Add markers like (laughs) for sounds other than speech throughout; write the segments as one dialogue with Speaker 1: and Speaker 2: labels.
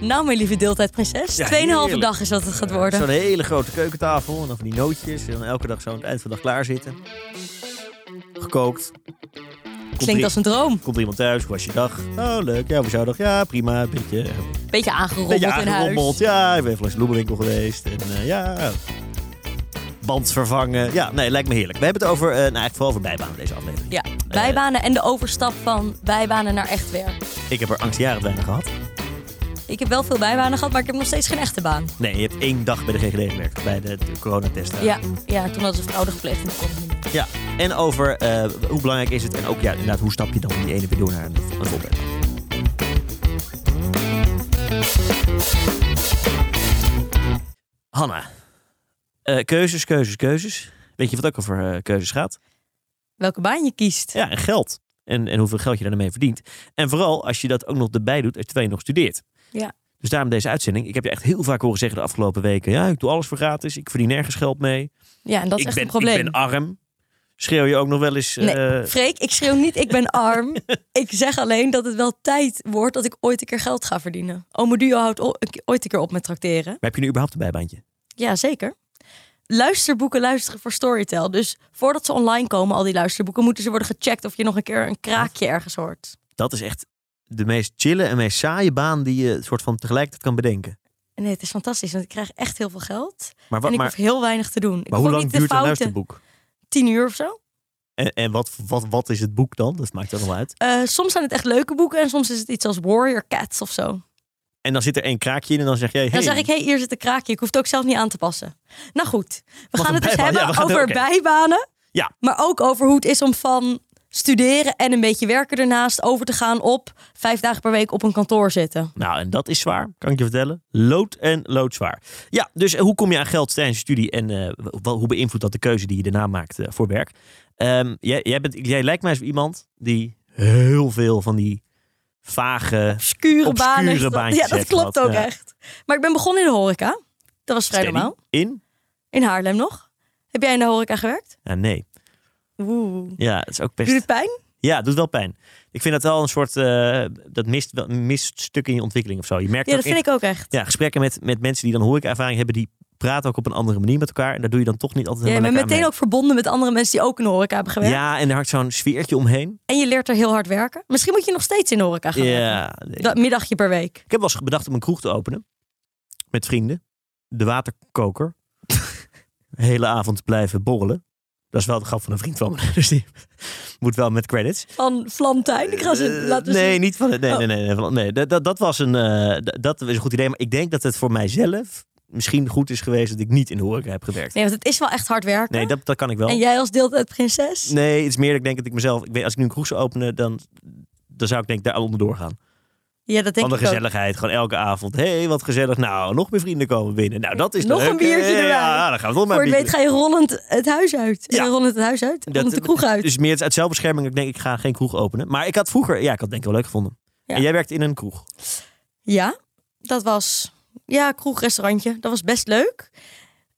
Speaker 1: Nou, mijn lieve deeltijdprinses.
Speaker 2: Ja,
Speaker 1: Tweeënhalve
Speaker 2: heerlijk.
Speaker 1: dag is wat het gaat
Speaker 2: Zo'n
Speaker 1: worden.
Speaker 2: hele grote keukentafel en dan van die nootjes. En dan elke dag zo aan het eind van de dag klaar zitten. Gekookt. Komt
Speaker 1: Klinkt
Speaker 2: er-
Speaker 1: als een droom.
Speaker 2: Komt er iemand thuis, hoe was je dag? Oh, leuk. Ja, hoe was jouw dag? Ja, prima. Een beetje, een
Speaker 1: Beetje aangerommeld,
Speaker 2: beetje
Speaker 1: in
Speaker 2: aangerommeld.
Speaker 1: huis.
Speaker 2: Ja, ik ben even langs de bloemenwinkel geweest. En eh, ja, band vervangen. Ja, nee, lijkt me heerlijk. We hebben het over, eh, nou, eigenlijk vooral over bijbanen deze aflevering.
Speaker 1: Ja, bijbanen en de overstap van bijbanen naar echt werk.
Speaker 2: Ik heb er angstjaren bijna gehad.
Speaker 1: Ik heb wel veel bijbanen gehad, maar ik heb nog steeds geen echte baan.
Speaker 2: Nee, je hebt één dag bij de GGD gewerkt, bij de, de coronatest.
Speaker 1: Ja, ja toen hadden ze fraude gepleegd en dat kon ik niet.
Speaker 2: Ja, en over eh, hoe belangrijk is het en ook ja, inderdaad, hoe stap je dan van die ene weer door naar een, een volgende. Hanna, Eh, keuzes, keuzes, keuzes. Weet je wat ook over eh, keuzes gaat?
Speaker 1: Welke baan je kiest.
Speaker 2: Ja, en geld. En, en hoeveel geld je daarmee verdient. En vooral als je dat ook nog erbij doet, terwijl je nog studeert.
Speaker 1: Ja.
Speaker 2: Dus daarom deze uitzending. Ik heb je echt heel vaak horen zeggen de afgelopen weken. Ja, ik doe alles voor gratis. Ik verdien nergens geld mee.
Speaker 1: Ja, en dat is
Speaker 2: ik,
Speaker 1: echt
Speaker 2: ben,
Speaker 1: een probleem.
Speaker 2: ik ben arm. Schreeuw je ook nog wel eens...
Speaker 1: Nee,
Speaker 2: eh,
Speaker 1: Freek, ik schreeuw niet ik ben
Speaker 2: (laughs)
Speaker 1: arm. ik zeg alleen dat het wel tijd wordt dat ik ooit een keer geld ga verdienen. Ome Duo houdt o- een ke- ooit een keer op met tracteren.
Speaker 2: Maar heb je nu überhaupt een bijbaantje?
Speaker 1: Ja, zeker. Luisterboeken luisteren voor Storytel. Dus voordat ze online komen, al die luisterboeken, moeten ze worden gecheckt of je nog een keer een kraakje ergens hoort.
Speaker 2: Dat is echt de meest chille en meest saaie baan die je soort van tegelijkertijd kan bedenken.
Speaker 1: En nee, het is fantastisch, want ik krijg echt heel veel geld.
Speaker 2: Maar, wat,
Speaker 1: en ik
Speaker 2: maar,
Speaker 1: hoef heel weinig te doen. Ik
Speaker 2: maar hoe
Speaker 1: hoef
Speaker 2: lang
Speaker 1: niet de
Speaker 2: duurt een
Speaker 1: fouten-
Speaker 2: luisterboek?
Speaker 1: Tien uur of zo.
Speaker 2: En, en wat, wat, wat is het boek dan? Dat maakt er wel uit.
Speaker 1: Eh, soms zijn het echt leuke boeken en soms is het iets als Warrior Cats of zo.
Speaker 2: En dan zit er één kraakje in en dan zeg jij... Hey,
Speaker 1: Dan zeg ik, hé, hey, hier zit een kraakje. Ik hoef het ook zelf niet aan te passen. Nou goed, we
Speaker 2: Wat
Speaker 1: gaan
Speaker 2: een
Speaker 1: het dus
Speaker 2: bijbaan.
Speaker 1: hebben
Speaker 2: Ja, we gaan het-
Speaker 1: over
Speaker 2: oké.
Speaker 1: bijbanen.
Speaker 2: Ja.
Speaker 1: Maar ook over hoe het is om van studeren en een beetje werken ernaast over te gaan op vijf dagen per week op een kantoor zitten.
Speaker 2: Nou, en dat is zwaar, kan ik je vertellen. Lood en loodzwaar. Ja, dus eh, hoe kom je aan geld tijdens je studie en eh, wel- hoe beïnvloedt dat de keuze die je daarna maakt eh, voor werk? Ehm, jij, jij, bent, jij lijkt mij als iemand die heel veel van die vage...
Speaker 1: Obscure banen.
Speaker 2: Obscure baantjes
Speaker 1: ja, dat
Speaker 2: heb
Speaker 1: klopt
Speaker 2: gehad,
Speaker 1: ook
Speaker 2: ja.
Speaker 1: echt. Maar ik ben begonnen in de horeca. Dat was vrij
Speaker 2: steady
Speaker 1: normaal.
Speaker 2: In?
Speaker 1: In Haarlem nog. Heb jij in de horeca gewerkt?
Speaker 2: Ja, nee.
Speaker 1: Oeh.
Speaker 2: Ja, het is ook best...
Speaker 1: Doet het pijn?
Speaker 2: Ja, doet wel pijn. Ik vind dat wel een soort. eh, dat mist, wel- mist stukken in je ontwikkeling of zo. Je merkt
Speaker 1: Ja,
Speaker 2: ook
Speaker 1: dat
Speaker 2: in-
Speaker 1: vind ik ook echt.
Speaker 2: ja, gesprekken met, met mensen die dan horeca-ervaring hebben, die praten ook op een andere manier met elkaar. En daar doe je dan toch niet altijd
Speaker 1: Ja, je
Speaker 2: helemaal
Speaker 1: bent
Speaker 2: lekker
Speaker 1: meteen
Speaker 2: aan
Speaker 1: ook verbonden met andere mensen die ook in de horeca hebben
Speaker 2: mee.
Speaker 1: gewerkt.
Speaker 2: Ja, en er hangt zo'n sfeertje
Speaker 1: (laughs)
Speaker 2: omheen.
Speaker 1: En je leert er heel hard werken. Misschien moet je nog steeds in de horeca gaan werken.
Speaker 2: Ja.
Speaker 1: Dat middagje per week.
Speaker 2: Ik heb wel eens bedacht om een kroeg te openen. Met vrienden. De
Speaker 1: (laughs)
Speaker 2: waterkoker. de hele avond blijven borrelen. Dat is wel de grap van een vriend van me. (laughs) Dus die moet wel met credits.
Speaker 1: Van Flamtuin. Ik ga ze
Speaker 2: Eh,
Speaker 1: laten
Speaker 2: nee,
Speaker 1: zien.
Speaker 2: niet van het. Nee,
Speaker 1: Oh.
Speaker 2: nee, nee. nee, van- nee dat, dat, dat was een, eh, d- dat is een goed idee. Maar ik denk dat het voor mijzelf misschien goed is geweest dat ik niet in de horeca heb gewerkt.
Speaker 1: Nee, want het is wel echt hard werken.
Speaker 2: Nee, dat, dat kan ik wel.
Speaker 1: En jij als deeltijdprinses?
Speaker 2: Nee, het is meer dat ik denk dat ik mezelf. Ik weet, als ik nu een kroeg zou openen, dan, dan zou ik denk ik daar onderdoor gaan.
Speaker 1: Ja, dat denk
Speaker 2: Van de
Speaker 1: ik ook.
Speaker 2: gezelligheid. Gewoon elke avond. Hé, hey, wat gezellig. Nou, nog meer vrienden komen binnen. Nou, dat is
Speaker 1: Nog
Speaker 2: leuk.
Speaker 1: een biertje
Speaker 2: Eh,
Speaker 1: erbij.
Speaker 2: Ja, dan gaan we toch maar
Speaker 1: Voor je weet
Speaker 2: biertje.
Speaker 1: ga je rollend het huis uit.
Speaker 2: Ja.
Speaker 1: Ja. Rollend het huis uit. Rollend de kroeg uit.
Speaker 2: Dus meer uit zelfbescherming. Ik denk, ik ga geen kroeg openen. Maar ik had vroeger, ja, ik had het denk ik wel leuk gevonden.
Speaker 1: Ja.
Speaker 2: En jij werkt in een kroeg.
Speaker 1: Ja, dat was... Ja, kroegrestaurantje. Dat was best leuk.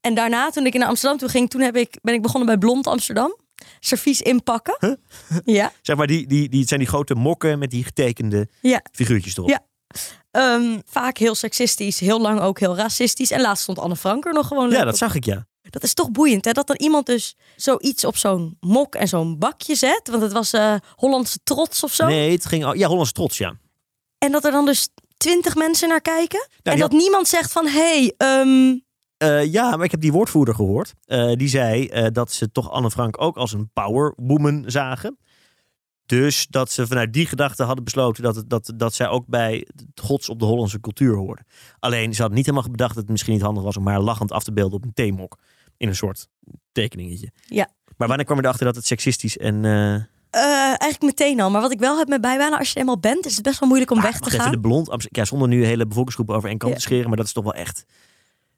Speaker 1: En daarna, toen ik naar Amsterdam toe ging, toen heb ik, ben ik begonnen bij Blond Amsterdam. Servies inpakken. Ja.
Speaker 2: Zeg maar, die, die, die, het zijn die grote mokken met die getekende
Speaker 1: Ja.
Speaker 2: figuurtjes erop.
Speaker 1: Ja. Ehm, vaak heel seksistisch, heel lang ook heel racistisch. En laatst stond Anne Frank er nog gewoon leuk
Speaker 2: Ja,
Speaker 1: op.
Speaker 2: dat zag ik, ja.
Speaker 1: Dat is toch boeiend, hè? Dat dan iemand dus zoiets op zo'n mok en zo'n bakje zet. Want het was eh, Hollandse trots of zo.
Speaker 2: Nee, het ging... al- Ja, Hollands trots, ja. Nou,
Speaker 1: En dat er dan dus twintig mensen naar kijken. en
Speaker 2: die
Speaker 1: dat niemand zegt van, hé, hey, ehm,
Speaker 2: Eh, ja, maar ik heb die woordvoerder gehoord. Eh, die zei eh, dat ze toch Anne Frank ook als een powerwoman zagen. Dus dat ze vanuit die gedachte hadden besloten dat, het, dat, dat zij ook bij het gods op de Hollandse cultuur hoorden. Alleen ze hadden niet helemaal bedacht dat het misschien niet handig was om haar lachend af te beelden op een theemok. In een soort tekeningetje.
Speaker 1: Ja.
Speaker 2: Maar wanneer kwam je erachter dat het seksistisch en... eh,
Speaker 1: eh, eigenlijk meteen al. Maar wat ik wel heb met bijbanen, als je er eenmaal bent, is het best wel moeilijk om
Speaker 2: Ja,
Speaker 1: weg te
Speaker 2: Ah, wacht even,
Speaker 1: gaan.
Speaker 2: de blond Amst- ja, zonder nu hele bevolkingsgroepen over één kant
Speaker 1: Ja.
Speaker 2: te scheren, maar dat is toch wel echt.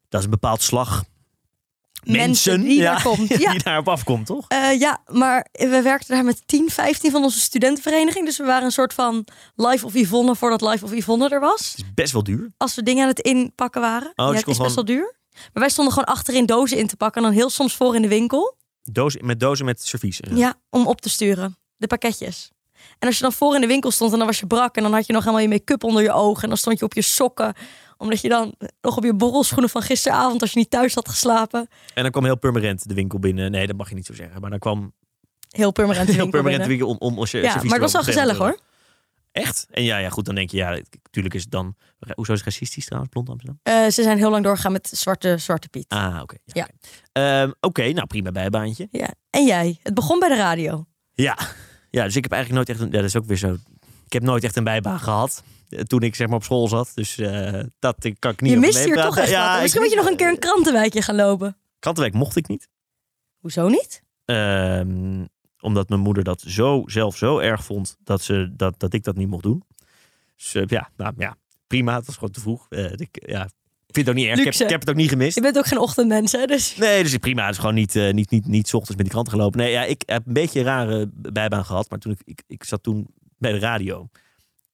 Speaker 2: Dat is een bepaald slag. (laughs)
Speaker 1: Mensen die daar komt, ja.
Speaker 2: die daarop afkomt, toch?
Speaker 1: Eh, ja, maar we werkten daar met 10, 15 van onze studentenvereniging. Dus we waren een soort van Life of Yvonne voordat Life of Yvonne er was.
Speaker 2: Het is best wel duur.
Speaker 1: als we dingen aan het inpakken waren.
Speaker 2: dus
Speaker 1: ja,
Speaker 2: je
Speaker 1: het
Speaker 2: kon
Speaker 1: is best wel duur. Maar wij stonden gewoon achterin dozen in te pakken. En dan heel soms voor in de winkel.
Speaker 2: Dozen, met dozen met servies. en zo.
Speaker 1: Ja, om op te sturen. De pakketjes. En als je dan voor in de winkel stond en dan was je brak en dan had je nog helemaal je make-up onder je ogen en dan stond je op je sokken omdat je dan nog op je borrelschoenen van gisteravond, als je niet thuis had geslapen,
Speaker 2: En dan kwam heel permanent de winkel binnen. Nee, dat mag je niet zo zeggen. Maar dan kwam
Speaker 1: heel permanent de
Speaker 2: (laughs) heel
Speaker 1: winkel
Speaker 2: permanent de
Speaker 1: binnen.
Speaker 2: winkel om, om als je
Speaker 1: Ja,
Speaker 2: servies
Speaker 1: maar het was
Speaker 2: te
Speaker 1: wel
Speaker 2: lopen
Speaker 1: gezellig
Speaker 2: tegen
Speaker 1: hoor.
Speaker 2: te doen. Echt? En ja, ja, goed, dan denk je, ja, natuurlijk is het dan... Hoezo is het racistisch trouwens, Blond Amsterdam?
Speaker 1: Eh, ze zijn heel lang doorgegaan met Zwarte, Zwarte Piet.
Speaker 2: Ah, oké. ja,
Speaker 1: Ja.
Speaker 2: Oké, Ehm, oké, nou prima bijbaantje.
Speaker 1: Ja. En jij? Het begon bij de radio.
Speaker 2: Ja. ja, dus ik heb eigenlijk nooit echt... Een, ja, dat is ook weer zo... Ik heb nooit echt een bijbaan gehad eh, toen ik zeg maar op school zat. Dus eh, dat eh, kan ik niet
Speaker 1: je
Speaker 2: over
Speaker 1: mist hier
Speaker 2: meepraten.
Speaker 1: toch echt
Speaker 2: ja,
Speaker 1: wat.
Speaker 2: ik
Speaker 1: Misschien moet je
Speaker 2: mis-
Speaker 1: nog een keer een krantenwijkje gaan lopen.
Speaker 2: Krantenwijk mocht ik niet.
Speaker 1: Hoezo niet?
Speaker 2: Ehm, omdat mijn moeder dat zo, zelf zo erg vond dat, ze, dat, dat ik dat niet mocht doen. Dus eh, ja, nou, ja, prima. Het was gewoon te vroeg. Eh, ik, ja, ik vind het ook niet erg. Ik heb,
Speaker 1: Luxe.
Speaker 2: ik heb het ook niet gemist.
Speaker 1: Je bent ook geen ochtendmens, hè? Dus
Speaker 2: Nee, dus prima. Het is gewoon niet, eh, niet, niet, niet 's ochtends met die kranten gelopen. Nee, ja, ik heb een beetje een rare bijbaan gehad. Maar toen ik, ik, ik zat toen bij de radio.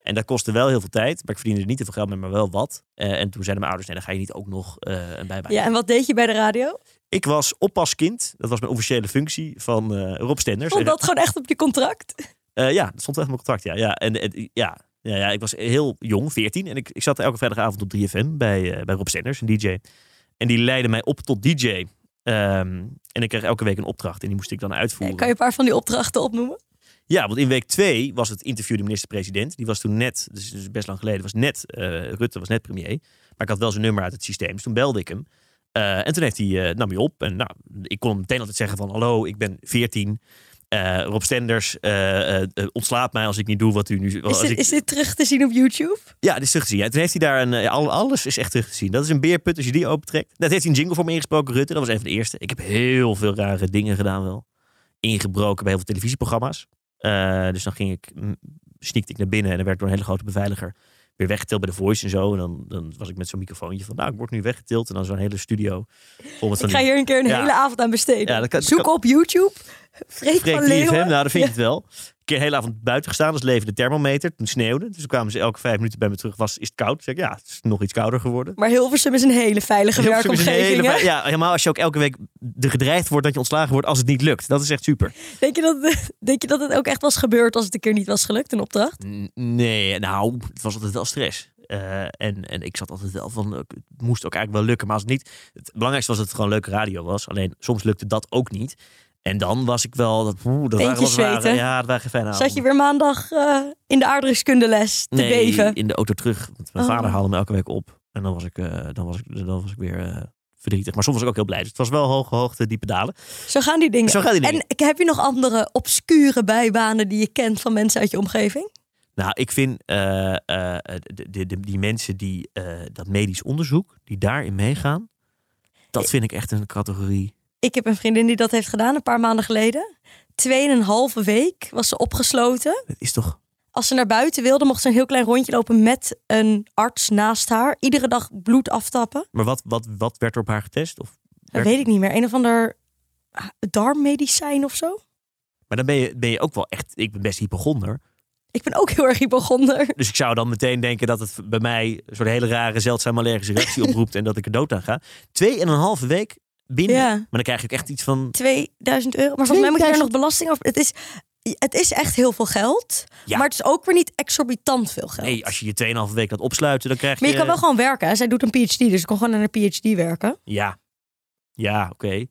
Speaker 2: En dat kostte wel heel veel tijd. Maar ik verdiende er niet te veel geld mee, maar wel wat. Eh, en toen zeiden mijn ouders, nee, dan ga je niet ook nog eh, een bijbaan
Speaker 1: ja, en wat deed je bij de radio?
Speaker 2: Ik was oppaskind. Dat was mijn officiële functie van eh Rob Stenders.
Speaker 1: Stond
Speaker 2: En-
Speaker 1: dat gewoon echt op je contract?
Speaker 2: eh, ja, dat stond echt op mijn contract. Ja, ja. En, en- ja. Ja, ja, ik was heel jong, 14. En ik, ik zat elke vrijdagavond op 3FM bij, eh, bij Rob Senders, een DJ. En die leidde mij op tot DJ. Ehm, en ik kreeg elke week een opdracht. En die moest ik dan uitvoeren.
Speaker 1: Ja, kan je een paar van die opdrachten opnoemen?
Speaker 2: Ja, want in week twee was het interview de minister-president. Die was toen net, dus dus best lang geleden, was net, eh, Rutte was net premier. Maar ik had wel zijn nummer uit het systeem, dus toen belde ik hem. Eh, en toen heeft hij, eh, nam hij op. En nou, ik kon hem meteen altijd zeggen van, hallo, ik ben 14. Eh, Rob Stenders, eh, eh, eh, ontslaat mij als ik niet doe wat u nu...
Speaker 1: Is
Speaker 2: als
Speaker 1: dit,
Speaker 2: ik,
Speaker 1: is dit terug te zien op YouTube?
Speaker 2: ja, dit is terug te zien. En toen heeft hij daar een... eh, al- Alles is echt terug te zien. Dat is een beerput als je die opentrekt. Dat heeft hij een jingle voor me ingesproken, Rutte. Dat was een van de eerste. Ik heb heel veel rare dingen gedaan wel. Ingebroken bij heel veel televisieprogramma's. Eh, dus dan ging ik... mm, Sneakte ik naar binnen en dan werd ik door een hele grote beveiliger... weer weggetild bij de Voice en zo. En dan, dan was ik met zo'n microfoontje van... Nou, ik word nu weggetild. En dan zo'n hele studio. vol met van
Speaker 1: Ik ga
Speaker 2: die-
Speaker 1: hier een keer een
Speaker 2: Ja.
Speaker 1: hele avond aan besteden.
Speaker 2: Ja, dat kan- dat
Speaker 1: Zoek
Speaker 2: kan-
Speaker 1: op YouTube. Freek
Speaker 2: Freek
Speaker 1: van
Speaker 2: 3FM,
Speaker 1: Leeuwen.
Speaker 2: nou dat vind ik het wel. Een keer de hele avond buiten gestaan, dat is leven de thermometer. Toen sneeuwde, dus toen kwamen ze elke vijf minuten bij me terug. Was, is het koud? Zeg ik, ja, het is nog iets kouder geworden.
Speaker 1: Maar Hilversum is een hele veilige
Speaker 2: Hilversum is een hele
Speaker 1: werkomgeving. hè?
Speaker 2: vrij- Ja, helemaal als je ook elke week er gedreigd wordt dat je ontslagen wordt als het niet lukt. Dat is echt super.
Speaker 1: Denk, je dat, denk je dat het ook echt was gebeurd als het een keer niet was gelukt, een opdracht?
Speaker 2: N- Nee, nou, het was altijd wel stress. Eh, en, en ik zat altijd wel van, eh, het moest ook eigenlijk wel lukken. Maar als het niet, het belangrijkste was dat het gewoon leuke radio was. Alleen soms lukte dat ook niet. En dan was ik wel, dat, oeh, dat waren,
Speaker 1: Teentjes
Speaker 2: dat waren,
Speaker 1: zweten.
Speaker 2: ja, dat waren geen fijne
Speaker 1: Zat je
Speaker 2: avonden.
Speaker 1: weer maandag eh, in de aardrijkskundeles te
Speaker 2: Nou, nee,
Speaker 1: beven?
Speaker 2: in de auto terug. Want mijn
Speaker 1: Oh.
Speaker 2: vader haalde me elke week op. En dan was ik, eh, dan was ik, dan was ik weer eh, verdrietig. Maar soms was ik ook heel blij. Dus het was wel hoge hoogte, diepe dalen.
Speaker 1: Zo gaan die dingen.
Speaker 2: Zo gaat die dingen.
Speaker 1: En ik- heb je nog andere obscure bijbanen die je kent van mensen uit je omgeving?
Speaker 2: Nou, ik vind eh, eh, de, de, de- die mensen die eh, dat medisch onderzoek, die daarin meegaan, dat
Speaker 1: Eh.
Speaker 2: vind ik echt een categorie.
Speaker 1: Ik heb een vriendin die dat heeft gedaan een paar maanden geleden. Tweeënhalve week was ze opgesloten.
Speaker 2: Dat is toch.
Speaker 1: Als ze naar buiten wilde, mocht ze een heel klein rondje lopen met een arts naast haar. Iedere dag bloed aftappen.
Speaker 2: Maar wat, wat, wat werd er op haar getest? Of
Speaker 1: Dat
Speaker 2: werd-
Speaker 1: weet ik niet meer. Een of ander ah, darmmedicijn of zo.
Speaker 2: Maar dan ben je, ben je ook wel echt. Ik ben best hypochonder.
Speaker 1: Ik ben ook heel erg hypochonder.
Speaker 2: Dus ik zou dan meteen denken dat het bij mij een soort hele rare, zeldzame allergische
Speaker 1: (laughs)
Speaker 2: reactie oproept en dat ik er dood aan ga. Twee en een halve week binnen.
Speaker 1: Ja.
Speaker 2: Maar dan krijg je ook echt iets van.
Speaker 1: 2000 euro. Maar volgens mij moet je daar
Speaker 2: 2000?
Speaker 1: nog belasting over. Het is, het is echt heel veel geld.
Speaker 2: Ja.
Speaker 1: Maar het is ook weer niet exorbitant veel geld.
Speaker 2: Nee, als je je tweeënhalve week laat opsluiten, dan krijg je.
Speaker 1: Maar je kan wel gewoon werken. Hè? Zij doet een PhD, dus ik kon gewoon aan een PhD werken.
Speaker 2: Ja. Ja, oké.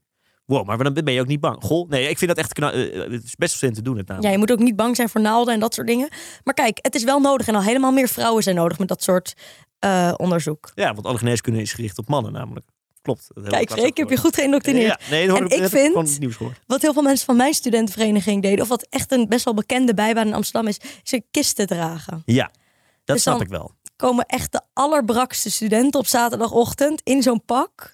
Speaker 2: Wow, maar dan ben je ook niet bang. Goh, nee, ik vind dat echt knap. het is best wel zin te doen, het namelijk.
Speaker 1: Ja, je moet ook niet bang zijn voor naalden en dat soort dingen. Maar kijk, het is wel nodig. En al helemaal meer vrouwen zijn nodig met dat soort eh, onderzoek.
Speaker 2: Ja, want alle geneeskunde is gericht op mannen namelijk. Klopt. Dat hebben we
Speaker 1: Kijk,
Speaker 2: laatst
Speaker 1: Freek, heb je goed
Speaker 2: ook gehoord.
Speaker 1: geïndoctrineerd.
Speaker 2: Ja, nee, dat hoorde
Speaker 1: En ik
Speaker 2: dat heb
Speaker 1: vind-
Speaker 2: Van het nieuws gehoord.
Speaker 1: Wat heel veel mensen van mijn studentenvereniging deden... of wat echt een best wel bekende bijbaan in Amsterdam is... is een kist te dragen.
Speaker 2: Ja, dat
Speaker 1: Dus
Speaker 2: snap
Speaker 1: dan-
Speaker 2: ik wel.
Speaker 1: komen echt de allerbrakste studenten op zaterdagochtend in zo'n pak.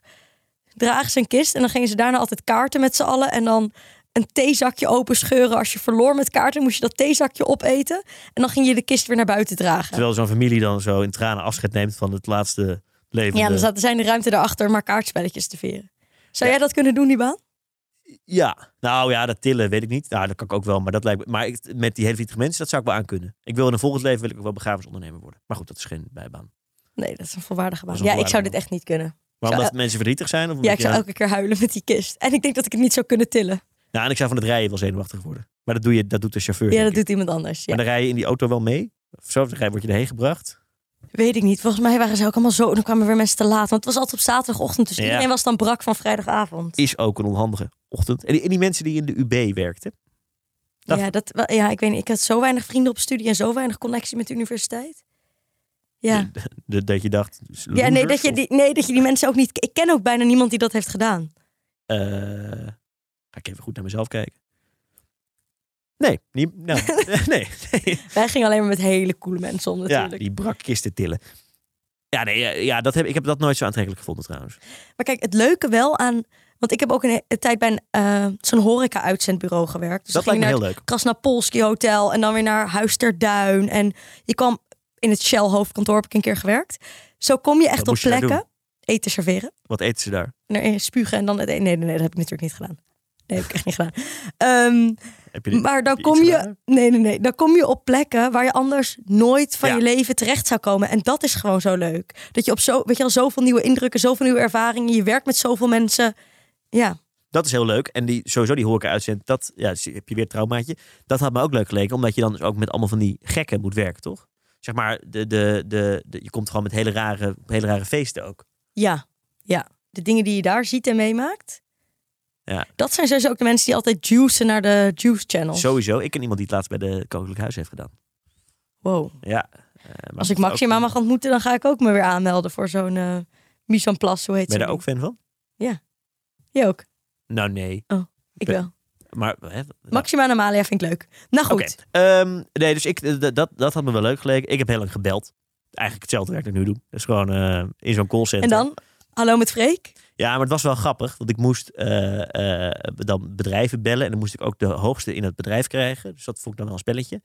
Speaker 1: Dragen ze een kist en dan gingen ze daarna altijd kaarten met z'n allen. En dan een theezakje open scheuren. Als je verloor met kaarten, moest je dat theezakje opeten. En dan ging je de kist weer naar buiten dragen.
Speaker 2: Terwijl zo'n familie dan zo in tranen afscheid neemt van het laatste leven.
Speaker 1: Ja, dan zat- zijn de ruimte daarachter om maar kaartspelletjes te veren. Zou jij dat kunnen doen, die baan?
Speaker 2: Ja, nou ja, dat tillen weet ik niet. Nou, dat kan ik ook wel, maar dat lijkt me. Maar ik- met die hele vietige mensen, dat zou ik wel aankunnen. Ik wil in een volgend leven wil ik ook wel begrafenisondernemer worden. Maar goed, dat is geen bijbaan.
Speaker 1: Nee, dat is een volwaardige baan.
Speaker 2: Dat is
Speaker 1: ja,
Speaker 2: een
Speaker 1: ik zou
Speaker 2: volwaardige
Speaker 1: dit echt niet kunnen.
Speaker 2: Maar
Speaker 1: Zou-
Speaker 2: omdat mensen verdrietig zijn? Of
Speaker 1: eh, Ja,
Speaker 2: omdat
Speaker 1: ik zou
Speaker 2: je-
Speaker 1: elke keer huilen met die kist. En ik denk dat ik het niet zou kunnen tillen.
Speaker 2: Nou, en ik zou van het rijden wel zenuwachtig worden. Maar dat, doe je, dat doet de chauffeur.
Speaker 1: Ja,
Speaker 2: denk
Speaker 1: dat
Speaker 2: ik.
Speaker 1: doet iemand anders. Ja.
Speaker 2: Maar dan rij je in die auto wel mee? Of zo, dan rij- word je erheen gebracht?
Speaker 1: Weet ik niet. Volgens mij waren ze ook allemaal zo. En dan kwamen weer mensen te laat. Want het was altijd op zaterdagochtend. Dus
Speaker 2: Ja.
Speaker 1: iedereen was dan brak van vrijdagavond.
Speaker 2: Is ook een onhandige ochtend. En die, en die mensen die in de UB werkten. Dat-
Speaker 1: Ja, dat, wel- ja, ik weet niet. Ik had zo weinig vrienden op studie en zo weinig connectie met de universiteit. Ja,
Speaker 2: de- dat je dacht...
Speaker 1: ja nee, dat je
Speaker 2: losers
Speaker 1: die, nee, dat je die mensen ook niet... Ik ken ook bijna niemand die dat heeft gedaan.
Speaker 2: of, eh, ga ik even goed naar mezelf kijken. Nee, niet,
Speaker 1: (laughs)
Speaker 2: nou, (laughs) nee. nee.
Speaker 1: Wij gingen alleen maar met hele coole mensen om
Speaker 2: Ja,
Speaker 1: natuurlijk.
Speaker 2: die brakkisten tillen. Ja, nee, ja, ja, dat heb, ik heb dat nooit zo aantrekkelijk gevonden trouwens.
Speaker 1: Maar kijk, het leuke wel aan... Want ik heb ook een, een tijd bij een, eh, zo'n horeca-uitzendbureau gewerkt. Dus
Speaker 2: dat
Speaker 1: dan
Speaker 2: lijkt
Speaker 1: ging
Speaker 2: me
Speaker 1: je
Speaker 2: heel leuk.
Speaker 1: Krasnapolski Hotel en dan weer naar Huis ter Duin. En je kwam in het Shell hoofdkantoor, heb ik een keer gewerkt. Zo kom je echt op
Speaker 2: Wat moest je daar
Speaker 1: plekken eten serveren.
Speaker 2: Wat eten ze daar?
Speaker 1: En er- spugen en dan het een. Nee, nee, nee, dat heb ik natuurlijk niet gedaan. Nee, heb ik echt niet gedaan. Ehm,
Speaker 2: Heb je dit-
Speaker 1: maar dan
Speaker 2: heb iets
Speaker 1: kom je...
Speaker 2: gedaan?
Speaker 1: Nee, nee, nee. Dan kom je op plekken waar je anders nooit van
Speaker 2: Ja.
Speaker 1: je leven terecht zou komen. En dat is gewoon zo leuk. Dat je op zo... Weet je al, zoveel nieuwe indrukken, zoveel nieuwe ervaringen. Je werkt met zoveel mensen. Ja.
Speaker 2: Dat is heel leuk. En die, sowieso die horeca uitzend, dat ja, dus heb je weer het traumaatje. Dat had me ook leuk geleken, omdat je dan dus ook met allemaal van die gekken moet werken, toch? Zeg maar, de, de, de, de- je komt gewoon met hele rare, hele rare feesten ook.
Speaker 1: Ja, ja. De dingen die je daar ziet en meemaakt.
Speaker 2: Ja.
Speaker 1: Dat zijn sowieso ook de mensen die altijd juicen naar de juice channels.
Speaker 2: Sowieso. Ik ken iemand die het laatst bij de Koninklijk Huis heeft gedaan.
Speaker 1: Wow.
Speaker 2: Ja. eh, maar
Speaker 1: Als ik
Speaker 2: dat is
Speaker 1: Maxima
Speaker 2: ook-
Speaker 1: mag ontmoeten, dan ga ik ook me weer aanmelden voor zo'n eh mise en place, hoe heet
Speaker 2: Ben je
Speaker 1: ze?
Speaker 2: daar ook fan van?
Speaker 1: Je ook.
Speaker 2: Nou, nee.
Speaker 1: Ik
Speaker 2: Ben-
Speaker 1: wel.
Speaker 2: Maar, hè,
Speaker 1: Maxima en Amalia vind ik leuk. Nou goed.
Speaker 2: Oké. Ehm, nee, dus ik, d- dat, dat had me wel leuk geleken. Ik heb heel lang gebeld. Eigenlijk hetzelfde werk dat ik nu doe. Dus gewoon eh, in zo'n callcenter.
Speaker 1: En dan? Hallo met Freek?
Speaker 2: Ja, maar het was wel grappig. Want ik moest eh, eh, dan bedrijven bellen. En dan moest ik ook de hoogste in het bedrijf krijgen. Dus dat vond ik dan wel een spelletje.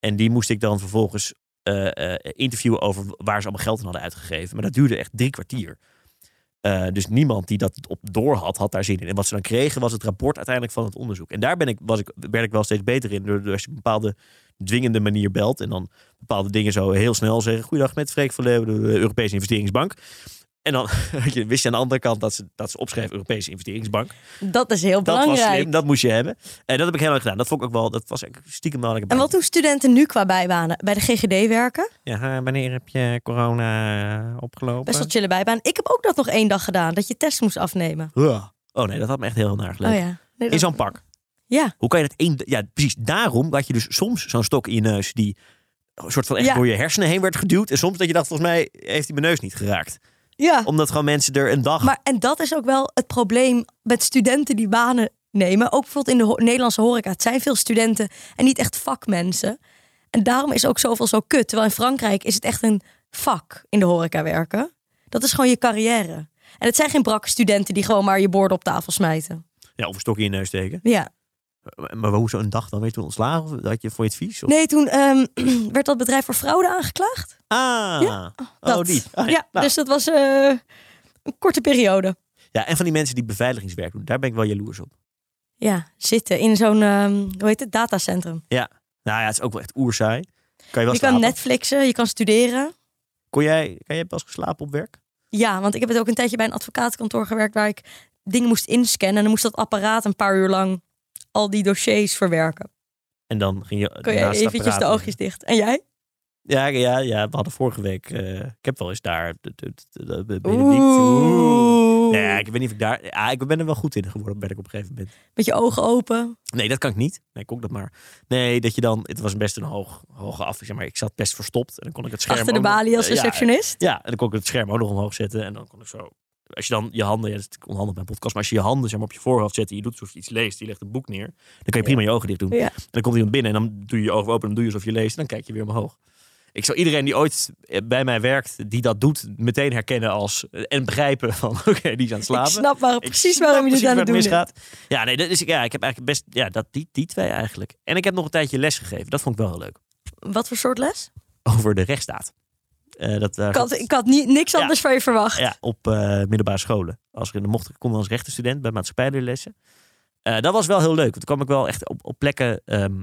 Speaker 2: En die moest ik dan vervolgens eh, eh, interviewen over waar ze allemaal geld aan hadden uitgegeven. Maar dat duurde echt drie kwartier. Eh, dus niemand die dat op door had, had daar zin in. En wat ze dan kregen, was het rapport uiteindelijk van het onderzoek. En daar ben ik, was ik, werd ik wel steeds beter in. Door, door als je op een bepaalde dwingende manier belt. En dan bepaalde dingen zo heel snel zeggen. Goeiedag, met Freek van Leeuwen, de Europese Investeringsbank. En dan (laughs) je wist je aan de andere kant dat ze, dat ze opschreef Europese Investeringsbank.
Speaker 1: Dat is heel
Speaker 2: Dat
Speaker 1: belangrijk.
Speaker 2: was slim, dat moest je hebben. En dat heb ik heel erg gedaan. Dat vond ik ook wel, dat was eigenlijk stiekem wel lekker
Speaker 1: En wat doen studenten nu qua bijbanen? Bij de GGD werken?
Speaker 2: Ja, eh, wanneer heb je corona eh, opgelopen?
Speaker 1: Best wel chille bijbaan. Ik heb ook dat nog één dag gedaan, dat je test moest afnemen.
Speaker 2: Ja. Oh nee, dat had me echt heel naar gelegen.
Speaker 1: Oh ja. Nee,
Speaker 2: In
Speaker 1: dat-
Speaker 2: zo'n pak.
Speaker 1: Ja.
Speaker 2: Hoe kan je dat één... Ja, precies. Daarom had je dus soms zo'n stok in je neus die een soort van echt
Speaker 1: Ja.
Speaker 2: door je hersenen heen werd geduwd. En soms dat je dacht, volgens mij heeft hij mijn neus niet geraakt.
Speaker 1: ja.
Speaker 2: Omdat gewoon mensen er een dag...
Speaker 1: Maar en dat is ook wel het probleem met studenten die banen nemen. Ook bijvoorbeeld in de ho- Nederlandse horeca. Het zijn veel studenten en niet echt vakmensen. En daarom is ook zoveel zo kut. Terwijl in Frankrijk is het echt een vak in de horeca werken. Dat is gewoon je carrière. En het zijn geen brakke studenten die gewoon maar je borden op tafel smijten.
Speaker 2: Ja, of een stok in je neus steken.
Speaker 1: Ja.
Speaker 2: Maar, maar hoezo een dag dan? Weet je toen ontslagen? Of had je voor je advies? Of...
Speaker 1: Nee, toen ehm, (clears throat) werd dat bedrijf voor fraude aangeklaagd.
Speaker 2: Ah, oh
Speaker 1: Dat.
Speaker 2: die. Ah,
Speaker 1: ja,
Speaker 2: nou.
Speaker 1: dus dat was eh, een korte periode.
Speaker 2: Ja, en van die mensen die beveiligingswerk doen, daar ben ik wel jaloers op.
Speaker 1: Ja, zitten in zo'n, ehm, hoe heet het, datacentrum.
Speaker 2: Nou ja, het is ook wel echt oerzaai. Kan je wel
Speaker 1: Je kan
Speaker 2: slapen?
Speaker 1: Netflixen, je kan studeren.
Speaker 2: Kon jij, kan jij pas geslapen op werk?
Speaker 1: Ja, want ik heb het ook een tijdje bij een advocatenkantoor gewerkt waar ik dingen moest inscannen. En dan moest dat apparaat een paar uur lang al die dossiers verwerken.
Speaker 2: En dan ging je...
Speaker 1: Kun je
Speaker 2: naast het
Speaker 1: eventjes de
Speaker 2: apparaat-
Speaker 1: oogjes dicht. En jij?
Speaker 2: Ja, ja, ja, we hadden vorige week... eh, ik heb wel eens daar... de- de- de- de- de- Benedict- Oeh.
Speaker 1: Oeh.
Speaker 2: Nee, ik weet niet of ik daar... Ja, ik ben er wel goed in geworden, ben ik op een gegeven moment.
Speaker 1: Met je ogen open.
Speaker 2: Nee, dat kan ik niet. Nee, kon ik dat maar. Nee, dat je dan... Het was best een hoog, hoge af... Zeg maar, ik zat best verstopt. En dan kon ik het scherm
Speaker 1: achter de
Speaker 2: ook nog-
Speaker 1: balie als
Speaker 2: eh, ja,
Speaker 1: receptionist.
Speaker 2: Ja, en dan kon ik het scherm ook nog omhoog zetten. En dan kon ik zo. Als je dan je handen, ja, dat is onhandig bij een podcast, maar als je je handen zeg maar, op je voorhoofd zet en je doet alsof je iets leest, je legt een boek neer, dan kan je prima je ogen dicht doen.
Speaker 1: Ja.
Speaker 2: En dan komt iemand binnen en dan doe je je ogen open en dan doe je alsof je leest en dan kijk je weer omhoog. Ik zou iedereen die ooit eh, bij mij werkt, die dat doet, meteen herkennen als eh, en begrijpen van (laughs) oké, die is aan het slapen.
Speaker 1: ik snap waar,
Speaker 2: Ik
Speaker 1: precies
Speaker 2: snap
Speaker 1: waarom je dit aan
Speaker 2: precies
Speaker 1: het
Speaker 2: waar
Speaker 1: doen bent.
Speaker 2: misgaat. Ja, nee, dat is, ja, ik heb eigenlijk best ja, dat, die, die twee eigenlijk. En ik heb nog een tijdje les gegeven. Dat vond ik wel heel leuk.
Speaker 1: Wat voor soort les?
Speaker 2: Over de rechtsstaat. Eh, dat, daar
Speaker 1: Ik had, ik had ni- niks
Speaker 2: Ja.
Speaker 1: anders van je verwacht.
Speaker 2: ja, op eh, middelbare scholen. Als ik, dan mocht, ik kon als rechtenstudent bij maatschappijleerlessen. Eh, dat was wel heel leuk. Want toen kwam ik wel echt op, op plekken ehm,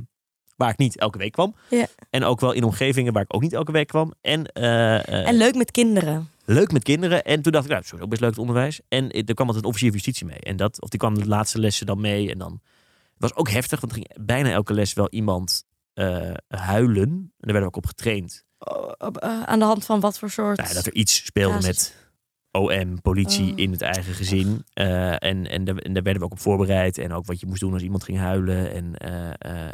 Speaker 2: waar ik niet elke week kwam.
Speaker 1: Ja.
Speaker 2: En ook wel in omgevingen waar ik ook niet elke week kwam. En, eh, eh,
Speaker 1: En leuk met kinderen.
Speaker 2: leuk met kinderen. En toen dacht ik, nou, sorry, ook best leuk het onderwijs. En eh, er kwam altijd een officier van justitie mee. En dat, of die kwam de laatste lessen dan mee. En dan was ook heftig, want er ging bijna elke les wel iemand eh, huilen. En daar werden we ook op getraind.
Speaker 1: Oh, eh, eh, aan de hand van wat voor soort...
Speaker 2: Nou ja, dat er iets speelde
Speaker 1: Ja,
Speaker 2: met OM, politie
Speaker 1: Oh.
Speaker 2: in het eigen gezin. Eh, en, en, daar, en daar werden we ook op voorbereid. En ook wat je moest doen als iemand ging huilen. En eh, eh,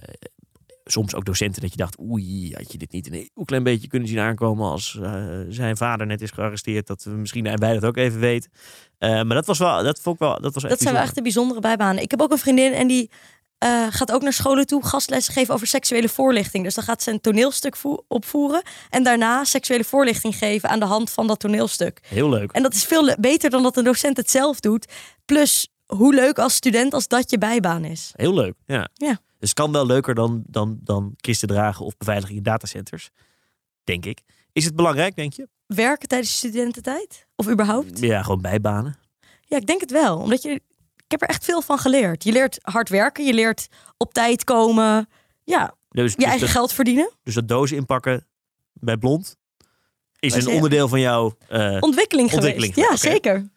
Speaker 2: soms ook docenten dat je dacht, oei, had je dit niet een heel klein beetje kunnen zien aankomen als eh, zijn vader net is gearresteerd. Dat we misschien wij dat ook even weten. Eh, maar dat was wel, dat vond ik wel, dat was
Speaker 1: Dat zijn wel
Speaker 2: bijzonder.
Speaker 1: echt de bijzondere bijbanen. Ik heb ook een vriendin en die eh, gaat ook naar scholen toe gastlessen geven over seksuele voorlichting. Dus dan gaat ze een toneelstuk vo- opvoeren en daarna seksuele voorlichting geven aan de hand van dat toneelstuk.
Speaker 2: heel leuk.
Speaker 1: En dat is veel le- beter dan dat een docent het zelf doet. Plus, hoe leuk als student als dat je bijbaan is.
Speaker 2: Heel leuk. Ja.
Speaker 1: Ja.
Speaker 2: Dus het kan wel leuker dan, dan, dan kisten dragen of beveiligen in datacenters. Denk ik. Is het belangrijk, denk je?
Speaker 1: Werken tijdens je studententijd? Of überhaupt?
Speaker 2: Ja, gewoon bijbanen.
Speaker 1: Ja, ik denk het wel. Omdat je, ik heb er echt veel van geleerd. Je leert hard werken, je leert op tijd komen. Ja,
Speaker 2: Dus,
Speaker 1: je
Speaker 2: dus,
Speaker 1: eigen
Speaker 2: dat,
Speaker 1: geld verdienen.
Speaker 2: dus dat dozen inpakken bij blond is
Speaker 1: Was
Speaker 2: een
Speaker 1: je-
Speaker 2: onderdeel van jouw... eh,
Speaker 1: ontwikkeling geweest.
Speaker 2: Ontwikkeling,
Speaker 1: ja,
Speaker 2: oké.
Speaker 1: zeker.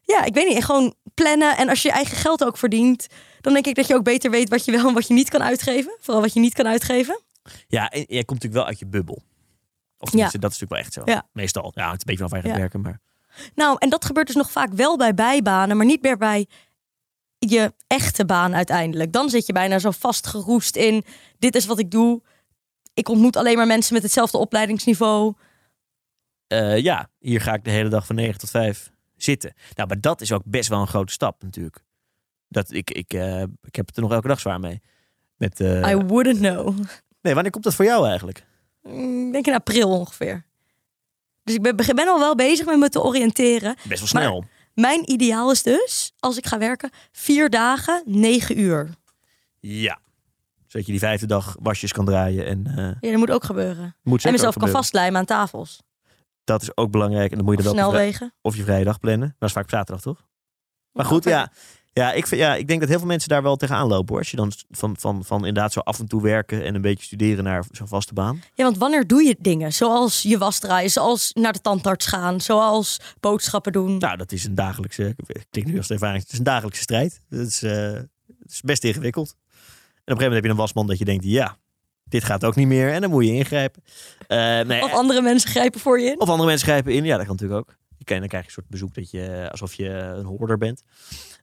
Speaker 1: Ja, ik weet niet. Gewoon plannen. En als je je eigen geld ook verdient, dan denk ik dat je ook beter weet wat je wel en wat je niet kan uitgeven. Vooral wat je niet kan uitgeven.
Speaker 2: ja, en jij komt natuurlijk wel uit je bubbel. Of tenminste, dat is natuurlijk wel echt zo.
Speaker 1: Ja.
Speaker 2: Meestal. Ja, het is een beetje van waar je
Speaker 1: Ja.
Speaker 2: gaat werken, maar...
Speaker 1: Nou, en dat gebeurt dus nog vaak wel bij bijbanen, maar niet meer bij je echte baan uiteindelijk. Dan zit je bijna zo vastgeroest in: dit is wat ik doe. Ik ontmoet alleen maar mensen met hetzelfde opleidingsniveau.
Speaker 2: Eh, ja, hier ga ik de hele dag van 9 tot 5 zitten. Nou, maar dat is ook best wel een grote stap natuurlijk. Dat ik, ik, eh, ik heb het er nog elke dag zwaar mee. Met, eh,
Speaker 1: I wouldn't know.
Speaker 2: Nee, wanneer komt dat voor jou eigenlijk?
Speaker 1: Mm, Ik denk in april ongeveer. Dus ik ben, ben al wel bezig met me te oriënteren.
Speaker 2: Best wel
Speaker 1: Maar-
Speaker 2: snel.
Speaker 1: Mijn ideaal is dus, als ik ga werken, vier dagen, negen uur.
Speaker 2: Ja. Zodat je die vijfde dag wasjes kan draaien en eh,
Speaker 1: Ja, dat moet ook gebeuren.
Speaker 2: moet
Speaker 1: en
Speaker 2: zeker
Speaker 1: mezelf
Speaker 2: ook
Speaker 1: kan
Speaker 2: gebeuren.
Speaker 1: vastlijmen aan tafels.
Speaker 2: Dat is ook belangrijk en dan moet
Speaker 1: Of
Speaker 2: je dat wel op je vrij-
Speaker 1: snelwegen.
Speaker 2: of je vrije dag plannen. Dat is vaak op zaterdag, toch? Maar goed,
Speaker 1: Ja,
Speaker 2: ja. Ja ik, vind, ja, ik denk dat heel veel mensen daar wel tegenaan lopen. Hoor. Als je dan van, van, van inderdaad zo af en toe werken en een beetje studeren naar zo'n vaste baan.
Speaker 1: Ja, want wanneer doe je dingen? Zoals je was draaien, zoals naar de tandarts gaan, zoals boodschappen doen.
Speaker 2: Nou, dat is een dagelijkse, klinkt nu als de ervaring, het is een dagelijkse strijd. Dat is, eh, het is best ingewikkeld. En op een gegeven moment heb je een wasman dat je denkt, ja, dit gaat ook niet meer. En dan moet je ingrijpen. Eh, nee,
Speaker 1: Of andere mensen grijpen voor je in.
Speaker 2: Of andere mensen grijpen in. Ja, dat kan natuurlijk ook. Je kan, dan krijg je een soort bezoek dat je eh, alsof je een hoorder bent.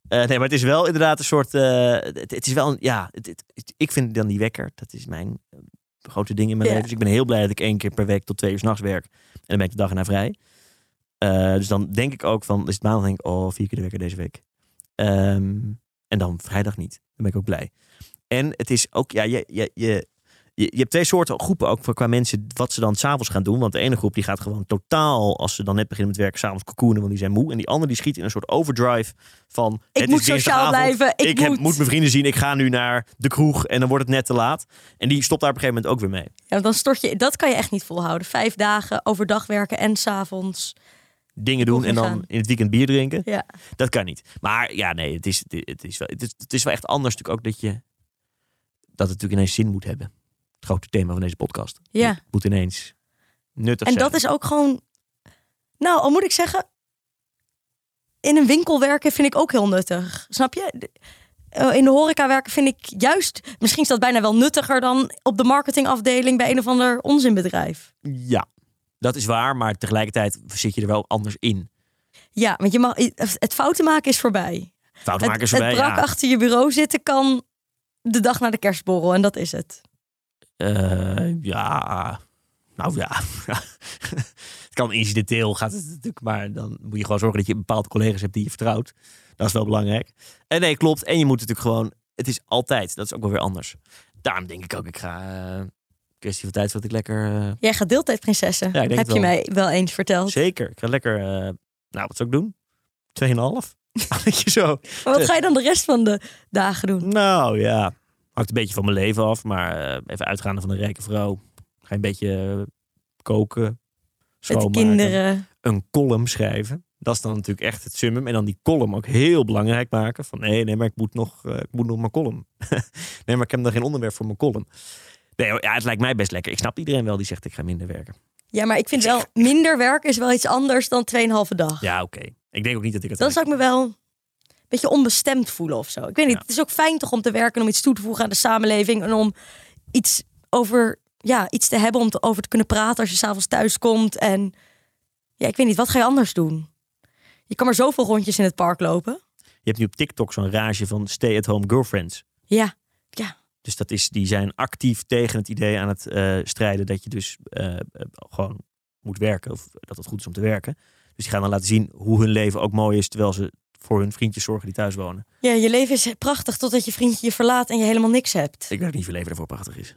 Speaker 2: Eh, nee, maar het is wel inderdaad een soort. eh, het, het is wel een. Ja, het, het- het- ik vind dan die wekker. Dat is mijn eh, grote ding in mijn
Speaker 1: Ja.
Speaker 2: leven. Dus ik ben heel blij dat ik één keer per week tot twee uur s'nachts werk. En dan ben ik de dag erna vrij. Eh, dus dan denk ik ook van. Is het maandag? Denk ik, oh, vier keer de wekker deze week. Ehm, en dan vrijdag niet. Dan ben ik ook blij. En het is ook. Ja, je, je, je, je, je hebt twee soorten groepen ook voor qua mensen wat ze dan s'avonds gaan doen. Want de ene groep die gaat gewoon totaal, als ze dan net beginnen met werken, s'avonds cocoonen, want die zijn moe. En die andere die schiet in een soort overdrive van...
Speaker 1: Ik
Speaker 2: het
Speaker 1: moet
Speaker 2: is
Speaker 1: sociaal
Speaker 2: dinsdagavond,
Speaker 1: blijven. Ik,
Speaker 2: Ik heb-
Speaker 1: moet.
Speaker 2: moet mijn vrienden zien, ik ga nu naar de kroeg en dan wordt het net te laat. En die stopt daar op een gegeven moment ook weer mee.
Speaker 1: Ja, want dan stort je. Dat kan je echt niet volhouden. Vijf dagen overdag werken en s'avonds.
Speaker 2: Dingen doen
Speaker 1: Kroeg
Speaker 2: en dan
Speaker 1: ingaan.
Speaker 2: in het weekend bier drinken.
Speaker 1: Ja.
Speaker 2: Dat kan niet. Maar ja, nee, het is, het is, wel, het is, het is wel echt anders natuurlijk ook dat je... Dat het natuurlijk ineens zin moet hebben. Het grote thema van deze podcast.
Speaker 1: Ja.
Speaker 2: Het moet ineens nuttig
Speaker 1: En
Speaker 2: zijn.
Speaker 1: dat is ook gewoon. Nou, al moet ik zeggen. In een winkel werken vind ik ook heel nuttig. Snap je? De- eh, In de horeca werken vind ik juist. Misschien is dat bijna wel nuttiger dan op de marketingafdeling bij een of ander onzinbedrijf.
Speaker 2: Ja, dat is waar, maar tegelijkertijd zit je er wel anders in.
Speaker 1: Ja, want je mag, het fouten maken is voorbij. Het,
Speaker 2: Foutmakers
Speaker 1: het
Speaker 2: erbij,
Speaker 1: brak
Speaker 2: ja.
Speaker 1: achter je bureau zitten kan de dag na de kerstborrel en dat is het.
Speaker 2: Eh, ja, nou ja. (laughs) het kan incidenteel, gaat het natuurlijk, maar dan moet je gewoon zorgen dat je bepaalde collega's hebt die je vertrouwt. Dat is wel belangrijk. En nee, klopt. En je moet natuurlijk gewoon, het is altijd, dat is ook wel weer anders. Daarom denk ik ook, ik ga, eh, kwestie van tijd, wat ik lekker eh,
Speaker 1: Jij gaat deeltijdprinsessen.
Speaker 2: Ja, ik denk
Speaker 1: heb
Speaker 2: het
Speaker 1: je
Speaker 2: wel.
Speaker 1: mij wel eens verteld.
Speaker 2: Zeker. Ik ga lekker, eh, nou, wat zou ik doen? Tweeënhalf? (laughs) Weet je zo.
Speaker 1: Maar wat ga je dan de rest van de dagen doen?
Speaker 2: Nou ja, hangt een beetje van mijn leven af. Maar eh, even uitgaande van een rijke vrouw. Ga je een beetje eh, koken,
Speaker 1: Met de
Speaker 2: schoonmaken.
Speaker 1: kinderen.
Speaker 2: Een column schrijven. Dat is dan natuurlijk echt het summum. En dan die column ook heel belangrijk maken. Van nee, nee, maar ik moet nog, eh, ik moet nog mijn column. (laughs) nee, maar ik heb nog geen onderwerp voor mijn column. Nee, ja, het lijkt mij best lekker. Ik snap iedereen wel die zegt ik ga minder werken.
Speaker 1: Ja, maar ik vind wel, minder werk is wel iets anders dan 2,5 dag.
Speaker 2: Ja, oké. Ik denk ook niet dat ik het...
Speaker 1: Dan zou ik me wel... beetje onbestemd voelen of zo. Ik weet niet,
Speaker 2: Ja.
Speaker 1: het is ook fijn toch om te werken, om iets toe te voegen aan de samenleving en om iets over, ja, iets te hebben om te, over te kunnen praten als je s'avonds thuis komt. En ja, ik weet niet, wat ga je anders doen? Je kan maar zoveel rondjes in het park lopen.
Speaker 2: Je hebt nu op TikTok zo'n rage van stay-at-home girlfriends.
Speaker 1: Ja,
Speaker 2: Dus dat is, die zijn actief tegen het idee aan het eh, strijden dat je dus eh, eh, gewoon moet werken. Of dat het goed is om te werken. Dus die gaan dan laten zien hoe hun leven ook mooi is terwijl ze voor hun vriendjes zorgen die thuis wonen.
Speaker 1: ja je leven is prachtig totdat je vriendje je verlaat en je helemaal niks hebt.
Speaker 2: Ik weet ook niet of je leven ervoor prachtig is.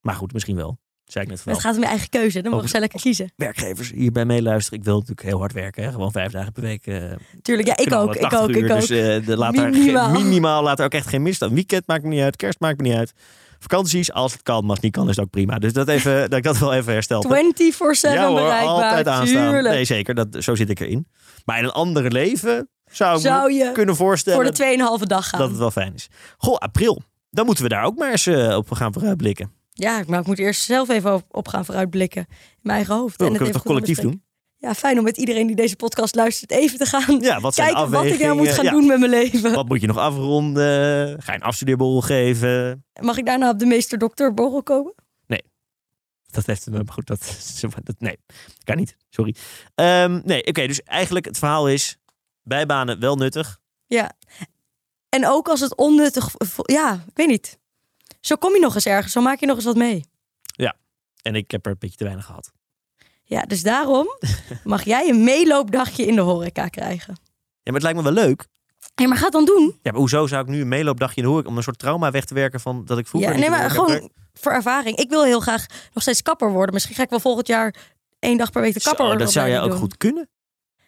Speaker 2: Maar goed, misschien wel. Zei ik net van.
Speaker 1: Het gaat om je eigen keuze, dan mogen
Speaker 2: Oh,
Speaker 1: ze lekker kiezen.
Speaker 2: Werkgevers hierbij meeluisteren. Ik wil natuurlijk heel hard werken. Hè? Gewoon vijf dagen per week. eh,
Speaker 1: Tuurlijk, ja, ik
Speaker 2: knallen,
Speaker 1: ook, ik
Speaker 2: 80
Speaker 1: ook,
Speaker 2: uur.
Speaker 1: ik ook.
Speaker 2: Dus eh, de- laat daar ge-
Speaker 1: Minimaal.
Speaker 2: minimaal laat er ook echt geen mist aan. Weekend maakt me niet uit. Kerst maakt me niet uit. Vakanties, als het kan. Maar als het niet kan, is het ook prima. Dus dat, even, dat ik dat wel even herstel.
Speaker 1: 24-7 bereikbaar.
Speaker 2: altijd aanstaan.
Speaker 1: Tuurlijk.
Speaker 2: Nee, zeker. Dat, zo zit ik erin. Maar in een ander leven zou ik me
Speaker 1: Zou je
Speaker 2: kunnen
Speaker 1: voor
Speaker 2: voorstellen
Speaker 1: de 2,5 dag gaan?
Speaker 2: dat het wel fijn is. Goh, april. Dan moeten we daar ook maar eens eh, op gaan vooruitblikken.
Speaker 1: Ja, maar ik moet eerst zelf even op, op gaan vooruitblikken. In mijn eigen hoofd.
Speaker 2: Oh, dan
Speaker 1: het
Speaker 2: kunnen we
Speaker 1: even
Speaker 2: toch
Speaker 1: goed
Speaker 2: collectief
Speaker 1: bespreken.
Speaker 2: doen?
Speaker 1: Ja, fijn om met iedereen die deze podcast luistert even te gaan
Speaker 2: Ja, wat zijn de
Speaker 1: kijken wat ik nou
Speaker 2: afwegingen?
Speaker 1: moet gaan
Speaker 2: Ja,
Speaker 1: doen met mijn leven.
Speaker 2: Wat moet je nog afronden? Ga je een afstudeerborrel geven?
Speaker 1: Mag ik daarna op de meester-dokter borrel komen?
Speaker 2: Dat heeft me maar goed. Dat, dat, nee, kan niet. Sorry. Ehm, nee, oké. dus eigenlijk het verhaal is: bijbanen wel nuttig.
Speaker 1: En ook als het onnuttig... vo- Ja, ik weet niet. Zo kom je nog eens ergens. Zo maak je nog eens wat mee.
Speaker 2: En ik heb er een beetje te weinig gehad.
Speaker 1: Ja, dus daarom
Speaker 2: (laughs)
Speaker 1: mag jij een meeloopdagje in de horeca krijgen.
Speaker 2: Ja, maar het lijkt me wel leuk.
Speaker 1: Hé, maar ga het dan doen.
Speaker 2: Ja, maar hoezo zou ik nu een meeloopdagje in de hoek om een soort trauma weg te werken van dat ik vroeger.
Speaker 1: Ja,
Speaker 2: niet
Speaker 1: nee,
Speaker 2: in
Speaker 1: maar
Speaker 2: de hoek heb
Speaker 1: gewoon voor ervaring. Ik wil heel graag nog steeds kapper worden. Misschien ga ik wel volgend jaar één dag per week de
Speaker 2: gewerkt?
Speaker 1: kapper
Speaker 2: Zo, Oh, dat zou jij
Speaker 1: opleiding
Speaker 2: ook
Speaker 1: doen.
Speaker 2: goed kunnen.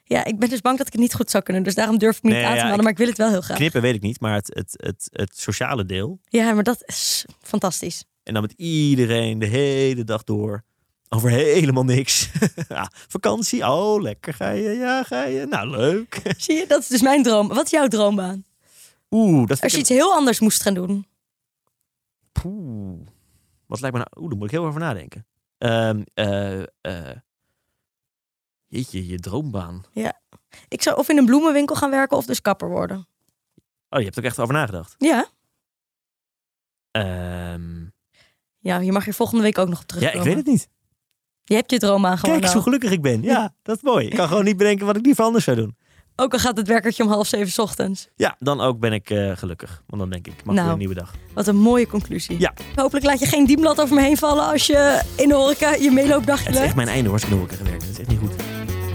Speaker 1: Ja, ik ben dus bang dat ik het niet goed zou kunnen. Dus daarom durf ik me niet
Speaker 2: Nee,
Speaker 1: aan te
Speaker 2: ja,
Speaker 1: melden.
Speaker 2: ik-
Speaker 1: Maar ik wil het wel heel graag.
Speaker 2: Knippen weet ik niet, maar het, het, het, het sociale deel.
Speaker 1: Ja, maar dat is fantastisch.
Speaker 2: (laughs) En dan met iedereen de hele dag door. Over helemaal niks. (laughs) ja, vakantie. Oh, lekker. Ga je? Ja, ga je? Nou, leuk. (laughs)
Speaker 1: Zie je, dat is dus mijn droom. Wat is jouw droombaan?
Speaker 2: Oeh, dat
Speaker 1: Als
Speaker 2: vind
Speaker 1: je
Speaker 2: ik...
Speaker 1: iets heel anders moest gaan doen.
Speaker 2: Poeh. Wat lijkt me nou... Oeh, daar moet ik heel erg over nadenken. Ehm, eh, eh. Jeetje, je droombaan.
Speaker 1: Ik zou of in een bloemenwinkel gaan werken of dus kapper worden.
Speaker 2: Oh, je hebt er ook echt over nagedacht.
Speaker 1: Ja,
Speaker 2: Ehm,
Speaker 1: ja je mag hier volgende week ook nog op
Speaker 2: ja,
Speaker 1: terugkomen.
Speaker 2: ik weet het niet.
Speaker 1: Je hebt je droombaan gewoon eh,
Speaker 2: Kijk eens
Speaker 1: al.
Speaker 2: hoe gelukkig ik ben. Ja, dat is mooi. Ik kan gewoon niet bedenken wat ik liever anders zou doen.
Speaker 1: Ook al gaat het werkertje om half zeven 's ochtends.
Speaker 2: Ja, dan ook ben ik eh, gelukkig. Want dan denk ik, mag
Speaker 1: Nou.
Speaker 2: weer een nieuwe dag.
Speaker 1: Wat een mooie conclusie.
Speaker 2: Ja.
Speaker 1: Hopelijk laat je geen dienblad over me heen vallen als je in de horeca je meeloopdagje
Speaker 2: Het is echt
Speaker 1: legt.
Speaker 2: mijn einde hoor, als ik door elkaar gewerkt. Dat is echt niet goed.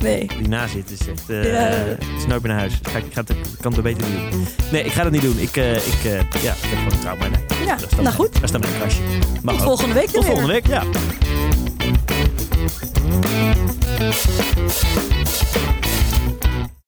Speaker 1: Nee.
Speaker 2: Die na zit is echt... eh,
Speaker 1: Ja.
Speaker 2: Het is nooit meer naar huis. Ik, ga, ik, ga het, ik kan het beter niet doen. Nee, ik ga dat niet doen. Ik, eh, ik, eh, ja, ik heb gewoon een trauma. Nee.
Speaker 1: Ja,
Speaker 2: Dat is dan-
Speaker 1: nou goed.
Speaker 2: Dat is dan mijn krasje. Mag
Speaker 1: Tot
Speaker 2: ook.
Speaker 1: volgende week dan
Speaker 2: Tot
Speaker 1: weer.
Speaker 2: volgende week, ja.